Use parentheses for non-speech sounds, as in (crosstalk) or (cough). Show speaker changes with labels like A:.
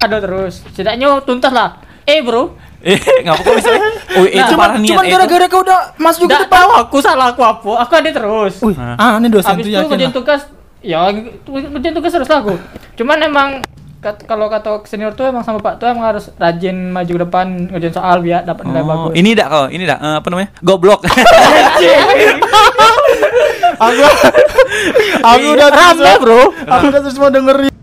A: ada terus setidaknya tuntas lah eh bro
B: Eh, ngapa kok
C: (laughs)
B: misalnya? Oh, itu
A: Nah,
B: parah
C: Cuman,
B: niat.
C: cuman
B: eh,
C: gara-gara kau udah masuk juga
A: nggak
C: ke
A: tahu
C: bawah.
A: aku salah aku apa aku ada terus
C: Wih, ah, ini dosen
A: Habis
C: tuh
A: itu
C: yakin
A: kerjaan
C: lah.
A: tugas ya kerjaan tugas harus laku. Cuman emang kat- kalau kata senior tuh emang sama Pak tuh emang harus rajin maju ke depan ngerjain soal biar dapat nilai
B: Oh,
A: bagus.
B: ini dak kau, ini dak eh, apa namanya? Goblok. (laughs)
C: Aku, aku udah
A: Rame,
C: (laughs) bro. Aku udah terus mau dengerin.